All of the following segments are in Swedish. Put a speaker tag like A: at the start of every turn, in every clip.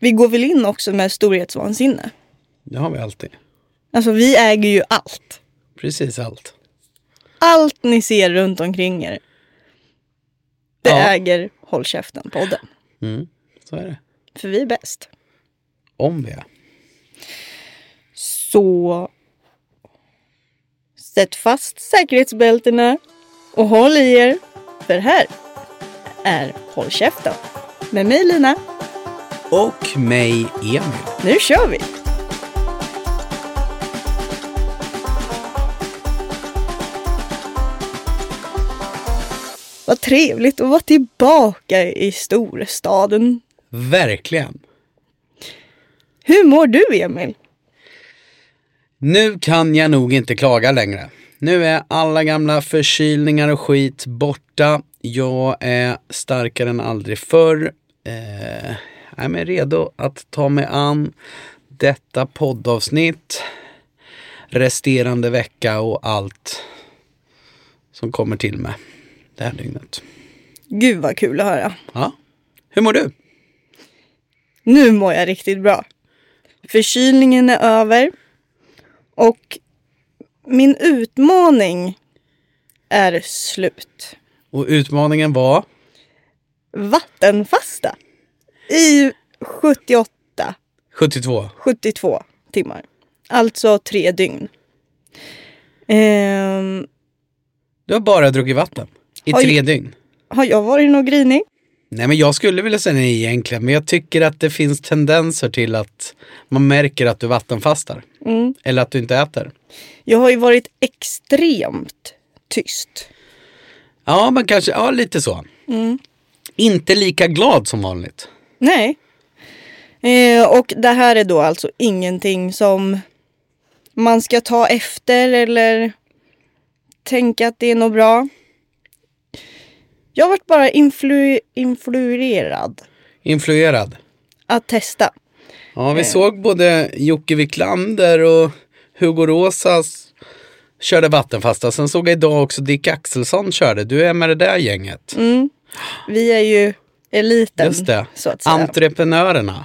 A: vi går väl in också med storhetsvansinne.
B: Det har vi alltid.
A: Alltså vi äger ju allt.
B: Precis allt.
A: Allt ni ser runt omkring er. Det
B: Ja.
A: äger Håll Käften-podden.
B: Mm, så är det.
A: För vi är bäst.
B: Om vi är.
A: Så sätt fast säkerhetsbältena och håll i er. För här är Håll Käften. Med mig Lina.
B: Och mig, Emil.
A: Nu kör vi! Vad trevligt att vara tillbaka i storstaden.
B: Verkligen.
A: Hur mår du, Emil?
B: Nu kan jag nog inte klaga längre. Nu är alla gamla förkylningar och skit borta. Jag är starkare än aldrig förr. Eh, jag är redo att ta mig an detta poddavsnitt, resterande vecka och allt som kommer till mig det här dygnet.
A: Gud vad kul att höra.
B: Ja. Hur mår du?
A: Nu mår jag riktigt bra. Förkylningen är över. Och min utmaning är slut.
B: Och utmaningen var?
A: Vattenfasta i 78
B: 72.
A: 72 timmar. Alltså tre dygn. Ehm,
B: Du har bara druckit vatten i
A: Oj.
B: tre dygn.
A: har jag varit någon grinig?
B: Nej men jag skulle vilja säga nej egentligen, men jag tycker att det finns tendenser till att man märker att du vattenfastar.
A: Mm.
B: Eller att du inte äter.
A: Jag har ju varit extremt tyst.
B: Ja, men kanske, ja lite så.
A: Mm.
B: Inte lika glad som vanligt.
A: Nej. Eh, och det här är då alltså ingenting som man ska ta efter eller tänka att det är något bra. Jag vart bara influ- influerad
B: Influerad.
A: att testa.
B: Ja,
A: Eh.
B: vi såg både Jocke Wiklander och Hugo Rosas körde vattenfasta. Sen såg jag idag också Dick Axelsson körde. Du är med det där gänget.
A: Vi är ju eliten,
B: Just det.
A: Mm. så att säga.
B: Entreprenörerna.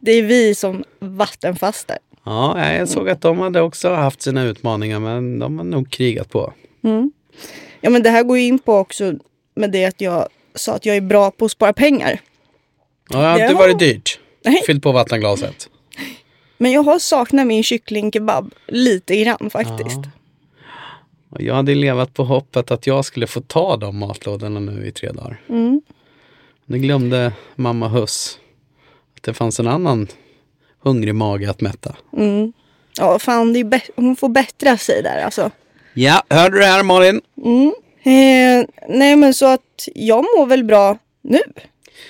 A: det är vi som vattenfastar.
B: Ja, jag såg att de hade också haft sina utmaningar, men de har nog krigat på.
A: Ja, men det här går ju in på också med det att jag sa att jag är bra på att spara pengar.
B: Ja, det har inte
A: Ja.
B: varit dyrt.
A: Nej.
B: Fyllt på vattenglaset.
A: Men jag har saknat min kycklingkebab lite grann faktiskt.
B: Och jag hade levat på hoppet att jag skulle få ta de matlådorna nu i tre dagar.
A: Mm.
B: Nu glömde mamma Huss att det fanns en annan hungrig mage att mätta.
A: Ja, fan, det är bä- hon får bättra sig där alltså.
B: Ja, hörde du det här Malin?
A: Eh, nej, men så att jag mår väl bra nu.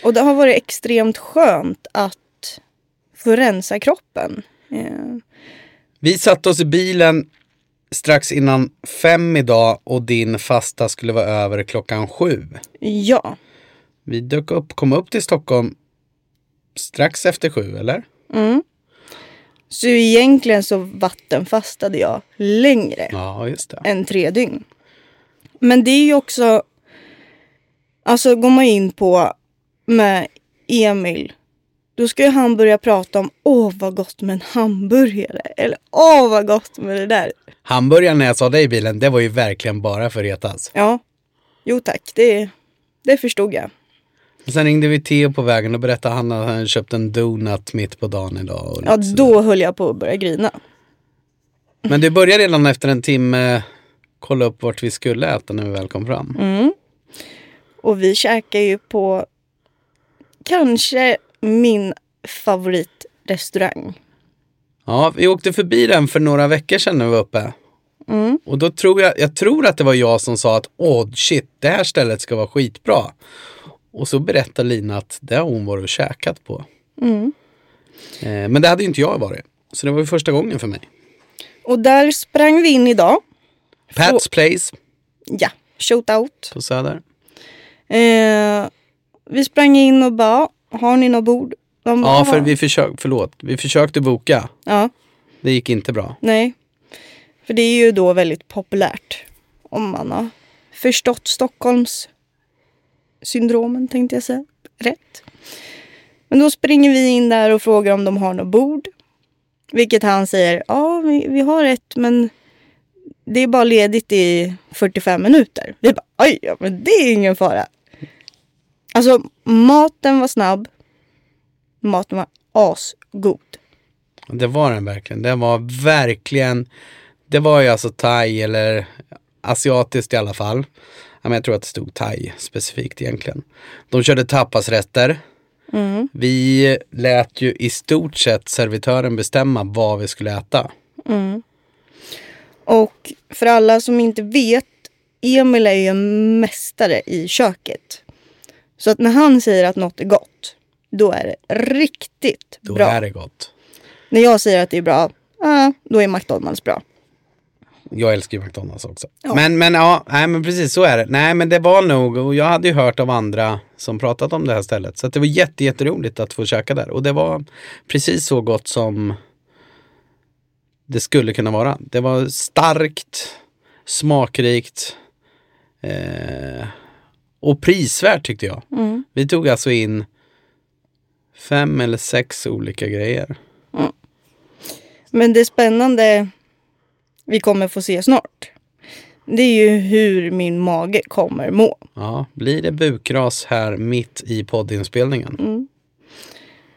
A: Och det har varit extremt skönt att få rensa kroppen. Eh,
B: Vi satte oss i bilen strax innan fem idag och din fasta skulle vara över klockan sju.
A: ja,
B: Vi dök upp, kom upp till Stockholm strax efter sju, eller?
A: så egentligen så vattenfastade jag längre.
B: Ja, just det.
A: än tre dygn. Men det är ju också... Alltså går man in på med Emil, då ska ju han börja prata om åh vad gott med en hamburgare. Eller åh vad gott med det där.
B: Hamburgaren när jag sa det i bilen, det var ju verkligen bara för att retas.
A: Ja, jo tack, det, det förstod jag.
B: Sen ringde vi Theo på vägen och berättade han att han köpt en donut mitt på dagen idag. Och
A: Ja,
B: lite sådär.
A: då höll jag på att börja grina.
B: Men du började redan efter en timme kolla upp vart vi skulle äta när vi väl kom fram.
A: Och vi käkar ju på kanske min favoritrestaurang.
B: Ja, vi åkte förbi den för några veckor sedan när vi var uppe. Och då tror jag, jag tror att det var jag som sa att åh shit, det här stället ska vara skitbra. Och så berättar Lina att det har hon varit och käkat på. Eh, men det hade ju inte jag varit. Så det var ju första gången för mig.
A: Och där sprang vi in idag.
B: Pat's Place
A: Ja, shoot out.
B: på Söder.
A: Eh, vi sprang in och bara, har ni något bord? De bara,
B: Ja, för vi, försök, förlåt, vi försökte boka.
A: Ja,
B: Det gick inte bra.
A: nej. För det är ju då väldigt populärt. Om man har förstått Stockholms syndromen tänkte jag säga. Rätt. Men då springer vi in där och frågar om de har något bord. Vilket han säger, ja vi, vi har ett men det är bara ledigt i 45 minuter. Vi bara, oj, ja, men det är ingen fara. Alltså maten var snabb. Maten var asgod.
B: Det var den verkligen. Det var verkligen, det var ju alltså thai eller asiatiskt i alla fall. Ja, men Jag tror att det stod thai specifikt egentligen. De körde tapasrätter.
A: Mm.
B: Vi lät ju i stort sett servitören bestämma vad vi skulle äta.
A: Mm. Och för alla som inte vet, Emil är ju en mästare i köket. Så att när han säger att något är gott, då är det riktigt
B: Då
A: bra.
B: är det gott.
A: När jag säger att det är bra, ah, då är McDonalds bra.
B: Jag älskar ju McDonalds också. Men, men ja, nej men precis så är det. Nej men det var nog, och jag hade ju hört av andra som pratat om det här stället. Så att det var jätte, jätteroligt att få käka där. Och det var precis så gott som det skulle kunna vara. Det var starkt, smakrikt eh, och prisvärt tyckte jag.
A: Mm.
B: Vi tog alltså in fem eller sex olika grejer.
A: Men det spännande vi kommer få se snart, det är ju hur min mage kommer må.
B: Ja, blir det bukras här mitt i poddinspelningen?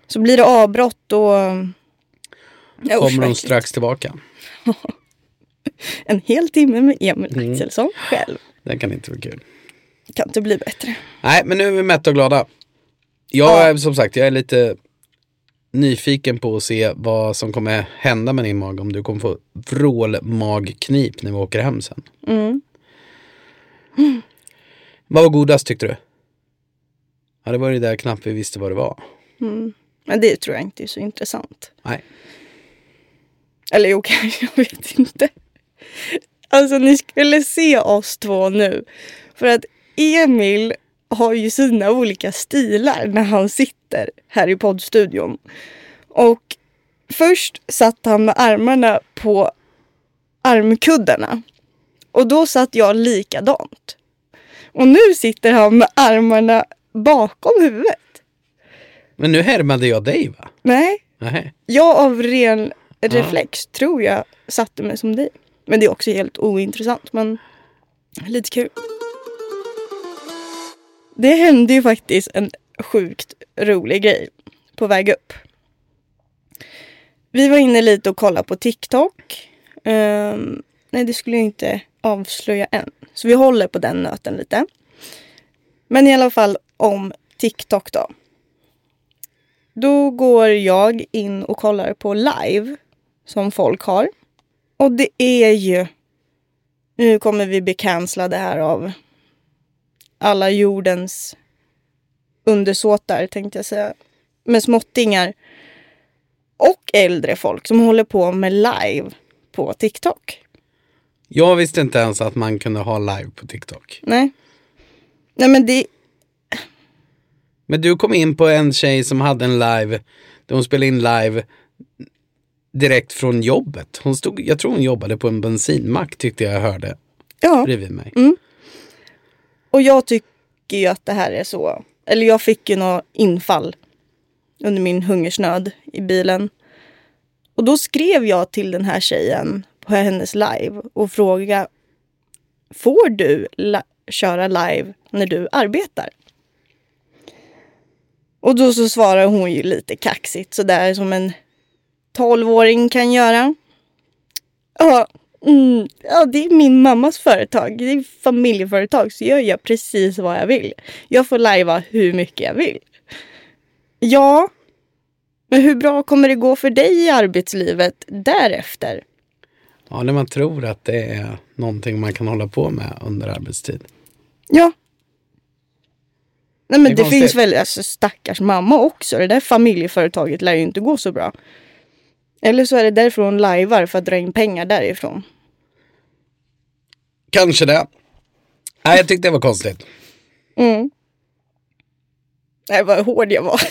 A: Så blir det avbrott då... Ja, usch,
B: kommer hon
A: verkligen.
B: strax tillbaka.
A: En hel timme med Emil
B: Mm.
A: Axelsson själv.
B: Det kan inte bli kul.
A: Kan inte bli bättre.
B: Nej, men nu är vi mätta och glada. Jag
A: Ja.
B: är som sagt, jag är lite nyfiken på att se vad som kommer hända med din mage. Om du kommer få vrålmagknip när vi åker hem sen.
A: Mm.
B: Vad var godast tyckte du? Ja, det var det där knappt vi visste vad det var.
A: Mm. Men det tror jag inte är så intressant.
B: Nej.
A: Eller jo, kanske. Jag vet inte. Alltså, ni skulle se oss två nu. För att Emil har ju sina olika stilar när han sitter här i poddstudion. Och först satt han med armarna på armkuddarna. Och då satt jag likadant. Och nu sitter han med armarna bakom huvudet.
B: Men nu härmade jag dig va?
A: Nej,
B: Nej.
A: jag av ren reflex tror jag satte mig som dig. Men det är också helt ointressant men lite kul. Det hände ju faktiskt en sjukt rolig grej på väg upp. Vi var inne lite och kollade på TikTok. Ehm, nej, det skulle jag inte avslöja än. Så vi håller på den nöten lite. Men i alla fall om TikTok då. Då går jag in och kollar på live som folk har. Och det är ju... Nu kommer vi bli cancellade här av alla jordens undersåtar, tänkte jag säga. Med småttingar. Och äldre folk som håller på med live på TikTok.
B: Jag visste inte ens att man kunde ha live på TikTok.
A: Nej. Nej men det...
B: Men du kom in på en tjej som hade en live, där hon spelade in live direkt från jobbet. Hon stod, jag tror hon jobbade på en bensinmack tyckte jag hörde
A: Ja.
B: bredvid mig.
A: Mm. Och jag tycker ju att det här är så. Eller jag fick ju något infall under min hungersnöd i bilen. Och då skrev jag till den här tjejen på hennes live och frågade Får du la- köra live när du arbetar? Och då så svarar hon ju lite kaxigt sådär som en 12-åring kan göra. Ja, mm, ja, det är min mammas företag. Det är familjeföretag så jag gör precis vad jag vill. Jag får lajva hur mycket jag vill. Ja, men hur bra kommer det gå för dig i arbetslivet därefter?
B: Ja, när man tror att det är någonting man kan hålla på med under arbetstid.
A: Ja. Nej men
B: Det är
A: det,
B: konstigt.
A: finns väl, alltså stackars mamma också. Det där familjeföretaget lär ju inte gå så bra. Eller så är det därför hon lajvar för att dra in pengar därifrån.
B: Kanske det. Nej, jag tyckte det var konstigt.
A: Mm. Nej vad hård jag var.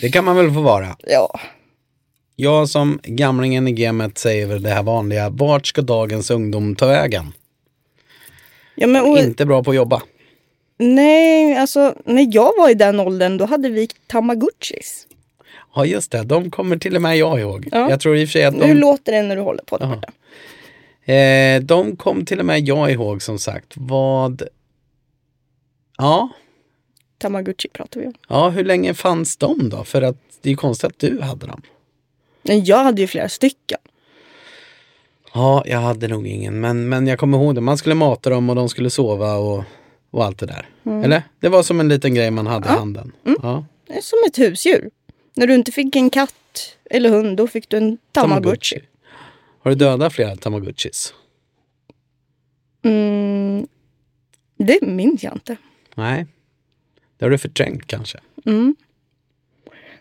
B: Det kan man väl få vara.
A: ja.
B: Jag som gamlingen i gamet säger väl det här vanliga, vart ska dagens ungdom ta vägen?
A: Ja men och,
B: Inte bra på att jobba.
A: Nej, alltså när jag var i den åldern då hade vi tamagotchis.
B: Ja, just det. De kommer till och med jag ihåg.
A: Ja.
B: Jag tror i och för sig att
A: Hur
B: de,
A: låter det när du håller på det?
B: Jaha.
A: borta?
B: eh, de kom till och med jag ihåg som sagt. Vad... Ja,
A: Tamagotchi pratar vi om.
B: ja, hur länge fanns de då? För att det är ju konstigt att du hade dem.
A: Men jag hade ju flera stycken.
B: Ja, jag hade nog ingen, men, men jag kommer ihåg det. Man skulle mata dem och de skulle sova och, och allt det där. Eller? Det var som en liten grej man hade i handen. Mm. Ja. Mm.
A: Det är som ett husdjur. När du inte fick en katt eller hund då fick du en tamagotchi.
B: Har du dödat flera tamagotchis?
A: Mm, det minns jag inte.
B: Nej. Det har du förträngt kanske.
A: Mm.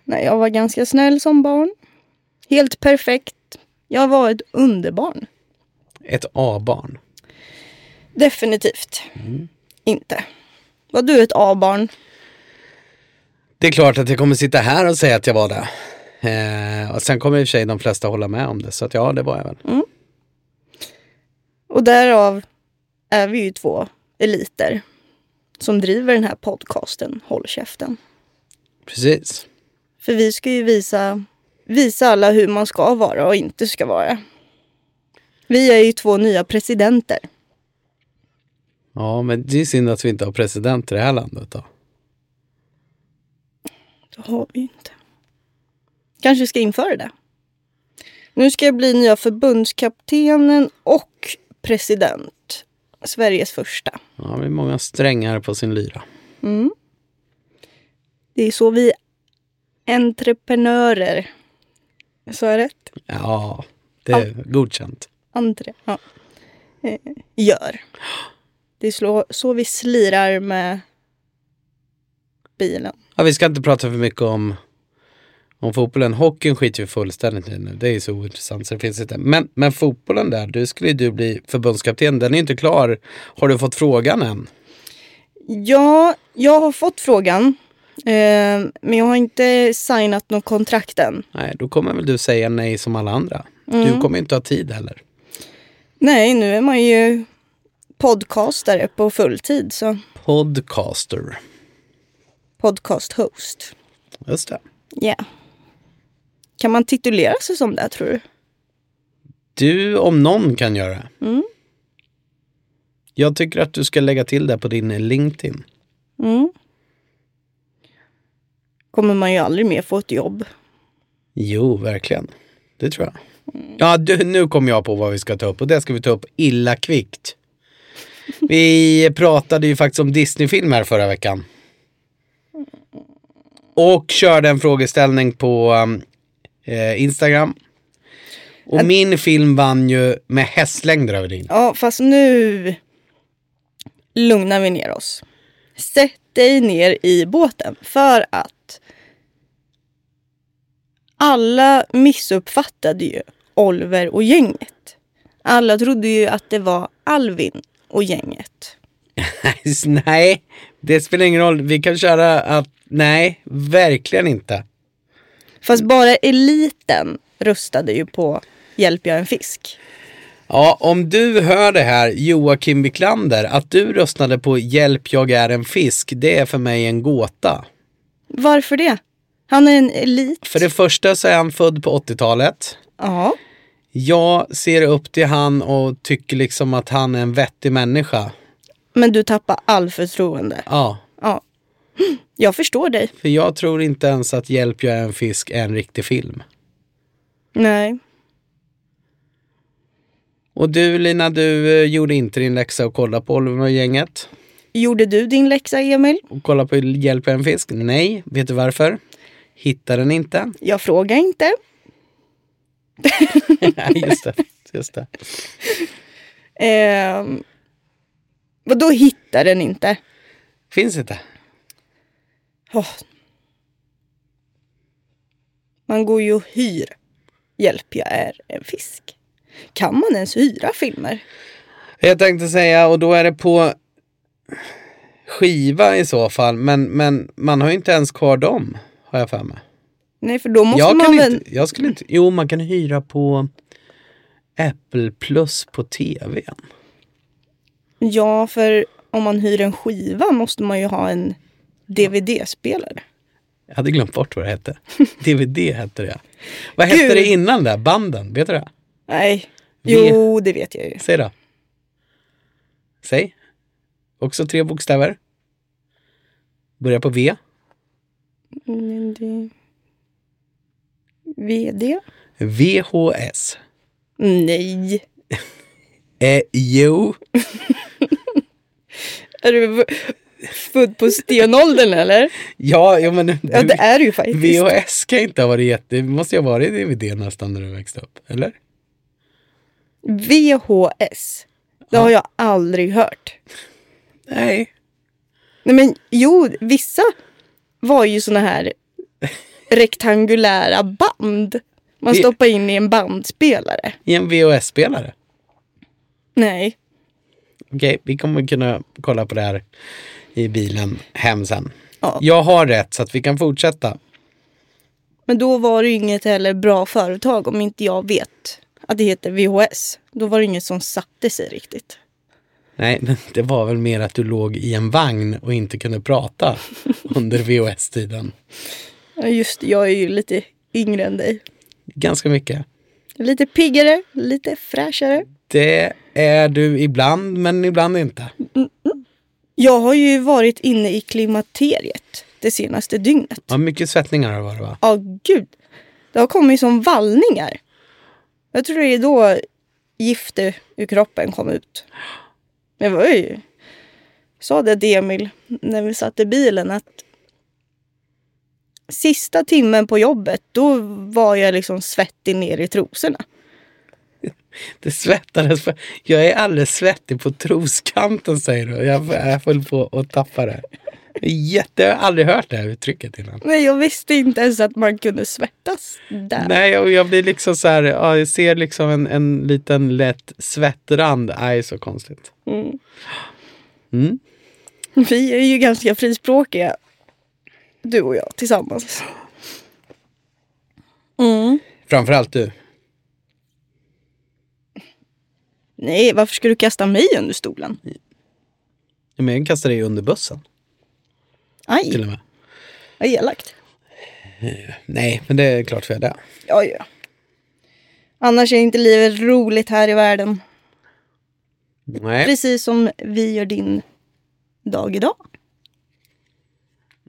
A: Nej, jag var ganska snäll som barn. Helt perfekt. Jag var ett underbarn.
B: Ett A-barn.
A: Definitivt
B: Mm.
A: inte. Var du ett A-barn?
B: Det är klart att jag kommer sitta här och säga att jag var det. Eh, och sen kommer i och för sig de flesta hålla med om det, så att ja, det var jag väl.
A: Och därav är vi ju två eliter som driver den här podcasten Håll käften.
B: Precis.
A: För vi ska ju visa, visa alla hur man ska vara och inte ska vara. Vi är ju två nya presidenter.
B: Ja, men det är synd att vi inte har president i det här landet då.
A: Det har vi ju inte. Kanske ska införa det. Nu ska jag bli nya förbundskaptenen och president. Sveriges första.
B: Ja, det är många strängar på sin lyra.
A: Mm. Det är så vi entreprenörer. Så är rätt?
B: Ja, det är godkänt.
A: Entre. Ja. Eh, Gör. Det är så, så vi slirar med bilen.
B: Ja, vi ska inte prata för mycket om, om fotbollen. Hockeyn skiter vi fullständigt i nu. Det är ju så ointressant så det finns inte. Men, men fotbollen där, du skulle ju du bli förbundskapten. Den är ju inte klar. Har du fått frågan än?
A: Ja, jag har fått frågan. Eh, men jag har inte signat något kontrakt än.
B: Nej, då kommer väl du säga nej som alla andra. Du kommer ju inte ha tid heller.
A: Nej, nu är man ju podcastare på fulltid, så
B: Podcaster.
A: podcast host.
B: Just det.
A: Ja. Kan man titulera sig som det, tror du?
B: Du om någon kan göra det. Jag tycker att du ska lägga till det på din LinkedIn.
A: Mm. Kommer man ju aldrig mer få ett jobb.
B: Jo, verkligen. Det tror jag. Ja, du, nu kom jag på vad vi ska ta upp och det ska vi ta upp illa kvickt. Vi pratade ju faktiskt om Disney-filmer förra veckan. Och körde en frågeställning på um, eh, Instagram. Och min film vann ju med hästlängder över din.
A: Ja, fast nu lugnar vi ner oss. Sätt dig ner i båten för att alla missuppfattade ju Oliver och gänget. Alla trodde ju att det var Alvin och gänget.
B: nej, det spelar ingen roll. Vi kan köra att, nej, verkligen inte.
A: Fast
B: Mm.
A: bara eliten röstade ju på Hjälp jag är en fisk.
B: Ja, om du hör det här, Joakim Wiklander, att du röstade på Hjälp, jag är en fisk, det är för mig en gåta.
A: Varför det? Han är en elit.
B: För det första så är han född på 80-talet.
A: Ja.
B: Jag ser upp till han och tycker liksom att han är en vettig människa.
A: Men du tappar all förtroende.
B: Ja,
A: Ja. Jag förstår dig.
B: för jag tror inte ens att Hjälp, jag är en fisk är en riktig film.
A: Nej.
B: Och du Lina, du eh, gjorde inte din läxa och kollade på Oliver och gänget.
A: Gjorde du din läxa, Emil?
B: Och kollade på Hjälp, jag är en fisk. Nej, vet du varför? Hittade den inte.
A: Jag frågar inte.
B: Nej, just det. Just det.
A: Eh, vadå hittar den inte?
B: Finns inte.
A: Åh. Man går ju och hyr. Hjälp, jag är en fisk. Kan man ens hyra filmer?
B: Jag tänkte säga, och då är det på skiva i så fall, men, men man har ju inte ens kvar dem, har jag för mig.
A: Nej, för då måste
B: Jag,
A: man
B: kan
A: väl...
B: inte, jag skulle inte, jo man kan hyra på Apple plus på tvn.
A: Ja, för om man hyr en skiva måste man ju ha en DVD-spelare.
B: Jag hade glömt bort vad det hette. DVD hette det. Vad hette
A: Gud.
B: det innan det? Banden? Vet du det?
A: Nej.
B: V-
A: Jo, det vet jag ju.
B: Säg då. Säg. Också tre bokstäver. Börjar på V.
A: Mm, Men det... VD?
B: VHS.
A: Nej.
B: Eh, jo.
A: Är du f- född på stenåldern eller?
B: Ja, ja men
A: Ja, det är du ju faktiskt.
B: VHS kan inte ha varit jätte... Det måste ju ha varit DVD nästan när du växte upp, eller?
A: VHS. Det har jag aldrig hört.
B: Nej.
A: Nej men jo, vissa var ju såna här rektangulära band. Man
B: Det-
A: stoppar in i en bandspelare.
B: I en VHS-spelare.
A: Nej.
B: Okej, vi kommer kunna kolla på det här i bilen hem sen.
A: Ja.
B: Jag har rätt så att vi kan fortsätta.
A: Men då var det ju inget heller bra företag om inte jag vet att det heter VHS. Då var det inget som satte sig riktigt.
B: Nej, men det var väl mer att du låg i en vagn och inte kunde prata under VHS-tiden.
A: Ja, Just det, jag är ju lite yngre än dig.
B: Ganska mycket.
A: Lite piggare, lite fräschare.
B: Det är du ibland, men ibland inte.
A: Jag har ju varit inne i klimakteriet det senaste dygnet.
B: Ja, mycket svettningar har det varit va?
A: Ja, gud. Det har kommit som vallningar. Jag tror det är då gifter ur kroppen kom ut. Men det var ju... Sa det till Emil när vi satt i bilen att sista timmen på jobbet då var jag liksom svettig ner i trosorna.
B: Det svettades. för- Jag är alldeles svettig på troskanten säger du. Jag, jag höll på att tappa det. Det är Jätte, jag har aldrig hört det här uttrycket innan.
A: Men jag visste inte ens att man kunde svettas där.
B: Nej, och jag blir liksom så här, ja, jag ser liksom en, en liten lätt svettrand. Nej, så konstigt.
A: Mm.
B: Mm.
A: Vi är ju ganska frispråkiga, du och jag tillsammans. Mm.
B: Framförallt du.
A: Nej, varför ska du kasta mig under stolen?
B: Ja, men jag kastade dig under bussen till
A: Aj,
B: och med.
A: vad elakt.
B: Nej, men det är klart för det.
A: Ja, ja. Annars är inte livet roligt här i världen.
B: Nej.
A: Precis som vi gör din dag idag.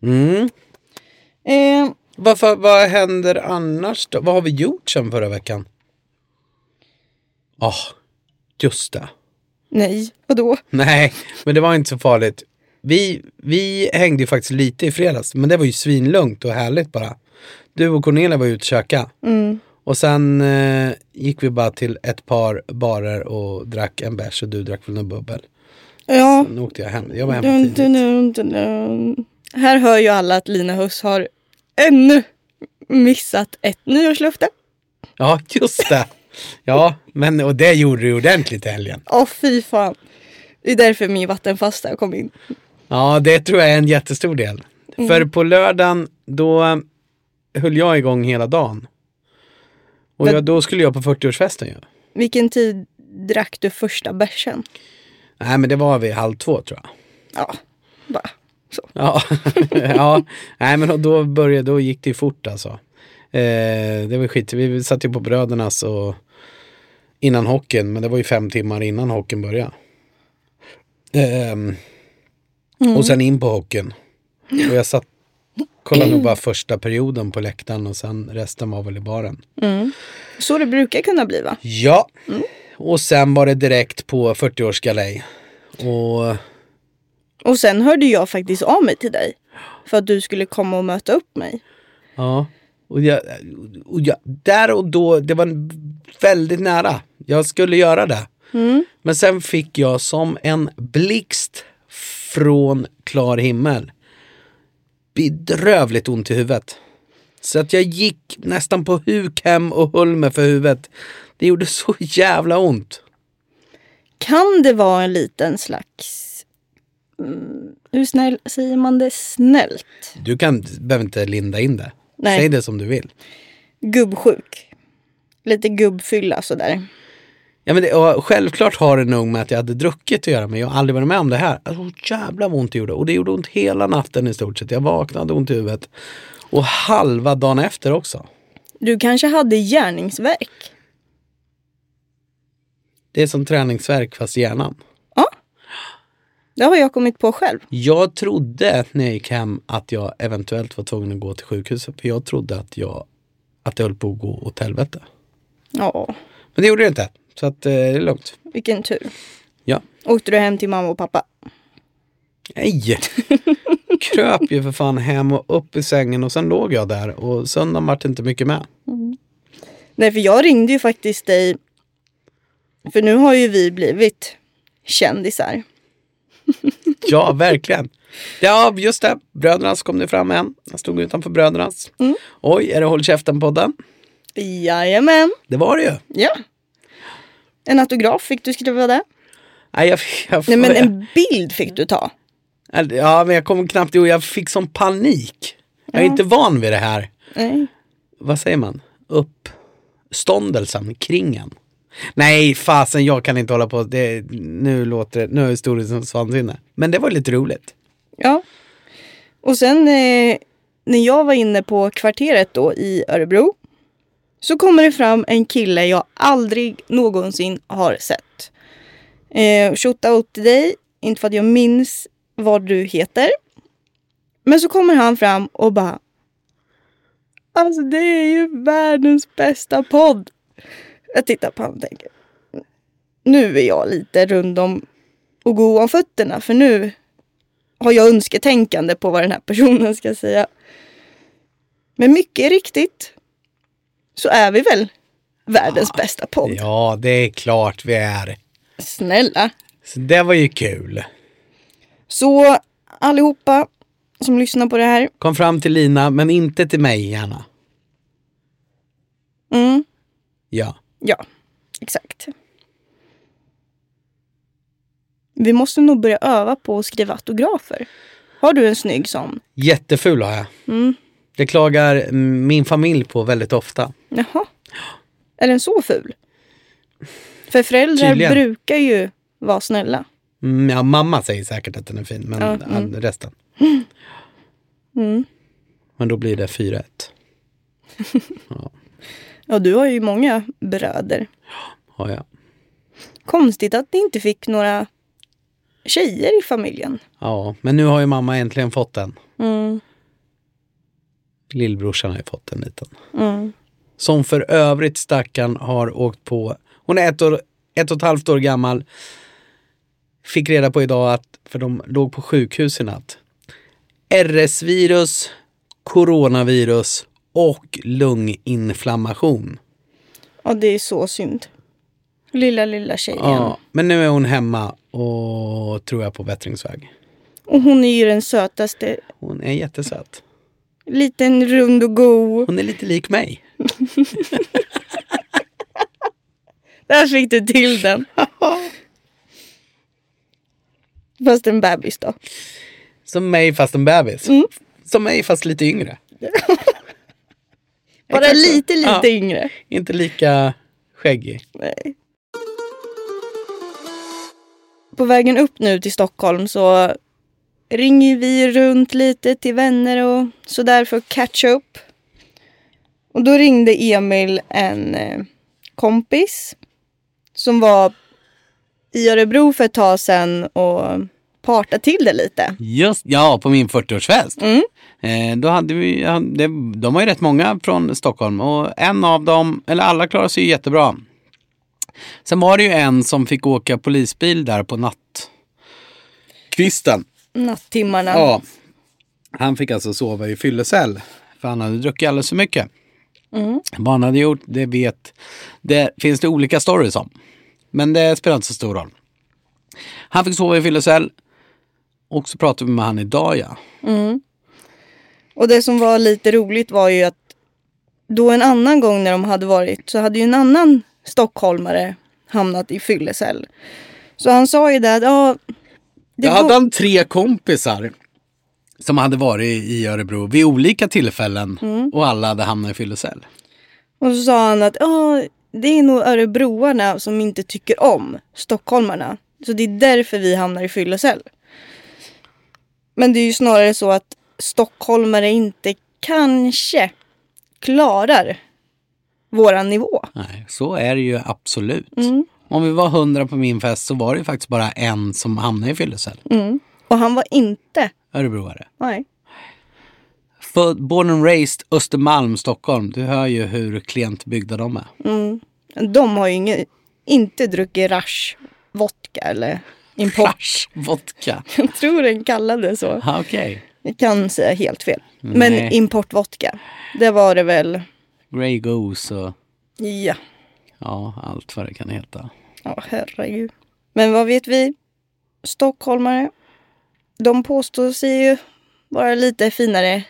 B: Mm.
A: Eh,
B: Varför, vad händer annars då? Vad har vi gjort sen förra veckan? Ja, just det.
A: nej, vadå?
B: Nej, men det var inte så farligt. Vi, vi hängde ju faktiskt lite i fredags, men det var ju svinlugnt och härligt bara. Du och Cornelia var ute och käka.
A: Mm.
B: Och sen eh, gick vi bara till ett par barer och drack en bärs och du drack väl någon bubbel.
A: Ja,
B: Nu åkte jag hem. Jag var hemma
A: dun, dun,
B: tidigt.
A: dun, dun, dun. Här hör ju alla att Lina Huss har ännu missat ett nyårslöfte.
B: Ja, just det. Ja, men och det gjorde du ordentligt i helgen.
A: Åh, fy fan. Det är därför min vattenfasta kom in.
B: Ja, det tror jag är en jättestor del. För på lördagen, då höll jag igång hela dagen. Och
A: Men-
B: jag, då skulle jag på 40-årsfesten ju.
A: Vilken tid drack du första bärsen?
B: Nej, men det var vid halv två tror jag.
A: Ja, bara så.
B: Ja, ja. nej men och då började, då gick det ju fort alltså. Eh, det var skit, vi satt ju på Brödernas och innan hockeyn, men det var ju fem timmar innan hockeyn började. Ehm, Och sen in på hockeyn. Och jag satt, kollade nog bara första perioden på läktaren och sen resten var väl i baren.
A: Så det brukar kunna bli va?
B: Ja, och sen var det direkt på 40-årsgalej. Och
A: Och sen hörde jag faktiskt av mig till dig. För att du skulle komma och möta upp mig.
B: Ja. Och, jag, och jag, där och då, det var väldigt nära. Jag skulle göra det. Men sen fick jag som en blixt från klar himmel bedrövligt ont i huvudet. Så att jag gick nästan på huk hem och höll mig för huvudet. Det gjorde så jävla ont.
A: Kan det vara en liten slags... Mm, hur snäll säger man det? Snällt?
B: Du kan, behöver inte linda in det.
A: Nej.
B: Säg det som du vill.
A: Gubbsjuk. Lite gubbfylla sådär.
B: Ja, men det, och självklart har det nog med att jag hade druckit att göra men jag har aldrig varit med om det här. Alltså, jävla vad ont det gjorde och det gjorde ont hela natten i stort sett. Jag vaknade ont i huvudet och halva dagen efter också.
A: Du kanske hade gärningsverk?
B: Det är som träningsverk fast i hjärnan.
A: Ja. Det har jag kommit på själv.
B: Jag trodde när jag gick hem att jag eventuellt var tvungen att gå till sjukhuset för jag trodde att jag att det höll på att gå åt helvete.
A: Ja,
B: Men det gjorde det inte. Så att eh, det är lugnt.
A: vilken tur.
B: Ja.
A: Åkte du hem till mamma och pappa?
B: Nej! Kröp ju för fan hem och upp i sängen och sen låg jag där och söndagen vart inte mycket med.
A: Nej, för jag ringde ju faktiskt dig. För nu har ju vi blivit kändisar.
B: Ja, verkligen. Ja, just det. Brödernas kom det fram än. Jag stod utanför Brödernas.
A: Mm.
B: Oj, är det Håll käften-podden?
A: Jajamän.
B: Det var det ju.
A: Ja. En autograf fick du skriva där.
B: Nej, jag, jag,
A: Nej, men en bild fick du ta.
B: Ja, men jag kom knappt ihåg. Jag fick sån panik. Jag är inte van vid det här.
A: Nej.
B: Vad säger man? Uppståndelsen, kringen. Nej, fasen jag kan inte hålla på. Det, nu låter det, nu är historien som svansinne. Men det var lite roligt.
A: Ja. Och sen eh, när jag var inne på kvarteret då i Örebro så kommer det fram en kille jag aldrig någonsin har sett. Eh, Shoutout till dig, inte för att jag minns vad du heter. Men så kommer han fram och bara Alltså det är ju världens bästa podd. Jag tittar på honom och tänker Nu är jag lite rund om och god om fötterna för nu har jag önsketänkande på vad den här personen ska säga. Men mycket riktigt så är vi väl världens bästa podd.
B: Ja, det är klart vi är.
A: Snälla.
B: Så det var ju kul.
A: Så allihopa som lyssnar på det här.
B: Kom fram till Lina, men inte till mig gärna.
A: Mm,
B: Ja.
A: ja, exakt. Vi måste nog börja öva på att skriva autografer. Har du en snygg sån?
B: Jätteful har jag.
A: Mm.
B: Det klagar mm, min familj på väldigt ofta.
A: Jaha. Är den så ful? För föräldrar
B: Tydligen.
A: brukar ju vara snälla.
B: Mm, ja, mamma säger säkert att den är fin, men
A: Ja, mm.
B: all- resten.
A: Mm.
B: Men då blir det 4-1.
A: Ja, du har ju många bröder.
B: Har jag.
A: Konstigt att ni inte fick några tjejer i familjen.
B: Ja, men nu har ju mamma äntligen fått den.
A: Mm,
B: Lillbrorsan har ju fått en liten.
A: mm.
B: Som för övrigt stackarn har åkt på. Hon är ett, år, ett och ett halvt år gammal. Fick reda på idag att, för de låg på sjukhus i natt. RS-virus, coronavirus och lunginflammation.
A: Ja, det är så synd. Lilla, lilla tjejen.
B: Ja, men nu är hon hemma och tror jag på bättringsväg.
A: Och hon är ju den sötaste.
B: Hon är jättesöt.
A: Liten, rund och go.
B: Hon är lite lik mig.
A: Där fick du till den. Fast en bebis då.
B: Som mig fast en bebis. Som mig fast lite yngre.
A: Bara
B: Exakt så.
A: lite, lite
B: Ja.
A: yngre.
B: Inte lika skäggig.
A: Nej. På vägen upp nu till Stockholm så ringer vi runt lite till vänner och sådär för att catch up. Och då ringde Emil en eh, kompis som var i Örebro för ett tag sedan och parta till det lite.
B: Just, ja, på min 40-årsfest.
A: Mm.
B: Eh, då hade vi, ja, det, de var ju rätt många från Stockholm och en av dem, eller alla klarade sig ju jättebra. Sen var det ju en som fick åka polisbil där på nattkvisten.
A: Nattimmarna.
B: Ja. Han fick alltså sova i fyllecell för han hade druckit alldeles för mycket.
A: Mm.
B: Vad han hade gjort, det vet... Det finns det olika stories om. Men det spelar inte så stor roll. Han fick sova i fyllecell. Och så pratade vi med han idag ja.
A: Mm. Och det som var lite roligt var ju att då en annan gång när de hade varit så hade ju en annan stockholmare hamnat i fyllecell. Så han sa ju det att ja, det
B: Då hade
A: var,
B: han tre kompisar som hade varit i Örebro
A: Mm.
B: vid olika tillfällen och alla hade hamnat i fyllecell.
A: och så sa han att ja, det är nog örebroarna som inte tycker om stockholmarna. Så det är därför vi hamnar i fyllecell. Men det är ju snarare så att stockholmare inte kanske klarar våran nivå.
B: Nej, så är det ju absolut.
A: Mm.
B: Om vi var hundra på min fest så var det ju faktiskt bara en som hamnade i fyllecell.
A: Mm. Och han var inte,
B: Örebroare.
A: nej.
B: Född, born and raised Östermalm, Stockholm. Du hör ju hur klent byggda de är.
A: Mm. De har ju inget, inte druckit rasch vodka eller import.
B: Rasch, vodka.
A: Jag tror den kallade så.
B: Ah, Okej.
A: Jag kan säga helt fel. Men
B: Nej.
A: importvodka, det var det väl.
B: Grey Goose och
A: Ja,
B: ja, allt vad det kan heta.
A: ja herregud. Men vad vet vi? Stockholmare, de påstår sig ju vara lite finare,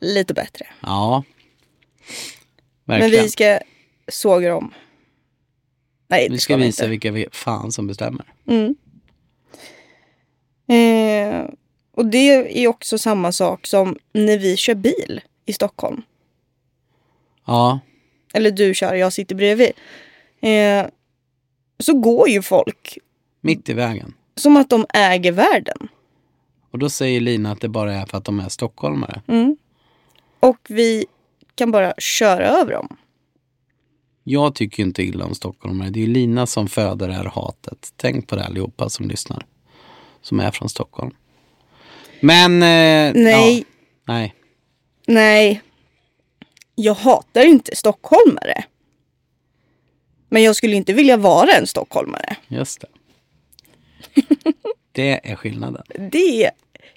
A: lite bättre.
B: Ja.
A: Men
B: Verkligen.
A: vi ska såga dem. Nej,
B: Vi
A: det
B: ska
A: vi
B: visa
A: inte.
B: vilka vi fan som bestämmer.
A: Mm. Eh, och det är också samma sak som när vi kör bil i Stockholm.
B: Ja,
A: Eller du kör, jag sitter bredvid. Eh, så går ju folk
B: mitt i vägen.
A: som att de äger världen.
B: Och då säger Lina att det bara är för att de är stockholmare.
A: Mm. Och vi kan bara köra över dem.
B: Jag tycker ju inte illa om stockholmare. Det är ju Lina som föder det här hatet. Tänk på det allihopa som lyssnar. Som är från Stockholm. Men... Eh,
A: Nej.
B: Ja, nej.
A: Nej, jag hatar inte stockholmare. Men jag skulle inte vilja vara en stockholmare.
B: Just det. Det är skillnaden.
A: Det är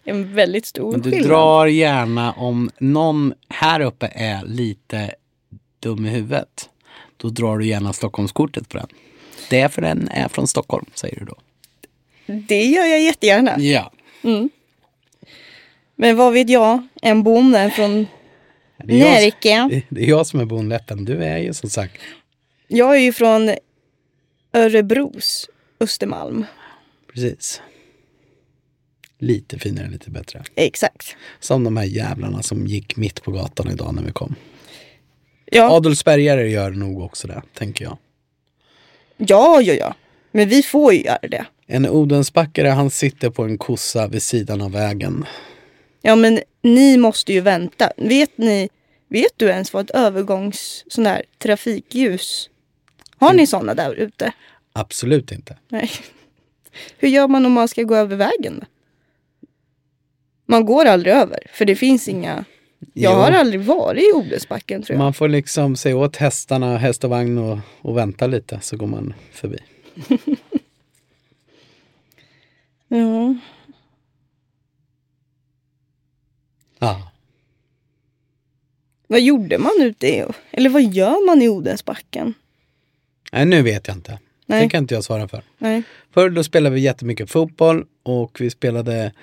A: en väldigt stor
B: Men du
A: skillnad.
B: drar gärna om någon här uppe är lite dum i huvudet. Då drar du gärna Stockholmskortet på den. Det är för den är från Stockholm, säger du då.
A: Det gör jag jättegärna.
B: Ja.
A: Men vad vet jag? En bonde från
B: Det är, jag,
A: Närke.
B: som- det är jag som är bonläppen. Du är ju som sagt.
A: Jag är ju från Örebros Östermalm.
B: Precis. Lite finare, lite bättre.
A: Exakt.
B: Som de här jävlarna som gick mitt på gatan idag när vi kom.
A: Ja,
B: Adolfsbergare gör nog också det, tänker jag.
A: ja, ja. ja. Men vi får ju göra det.
B: En Odensbackare, han sitter på en kossa vid sidan av vägen.
A: Ja, men ni måste ju vänta. Vet ni? Vet du ens vad ett övergångs sån där trafikljus? Har ni såna där ute?
B: Absolut inte.
A: Nej. Hur gör man om man ska gå över vägen? då? Man går aldrig över, för det finns inga. Jag
B: Jo.
A: har aldrig varit i Odensbacken tror jag.
B: Man får liksom se åt hästarna, häst och vagn och, och vänta lite så går man förbi.
A: Ja.
B: Ja.
A: Vad gjorde man ute i, eller vad gör man i Odensbacken?
B: Nej, nu vet jag inte.
A: Nej.
B: Det kan inte jag svara för.
A: Nej.
B: Förr då spelade vi jättemycket fotboll och vi spelade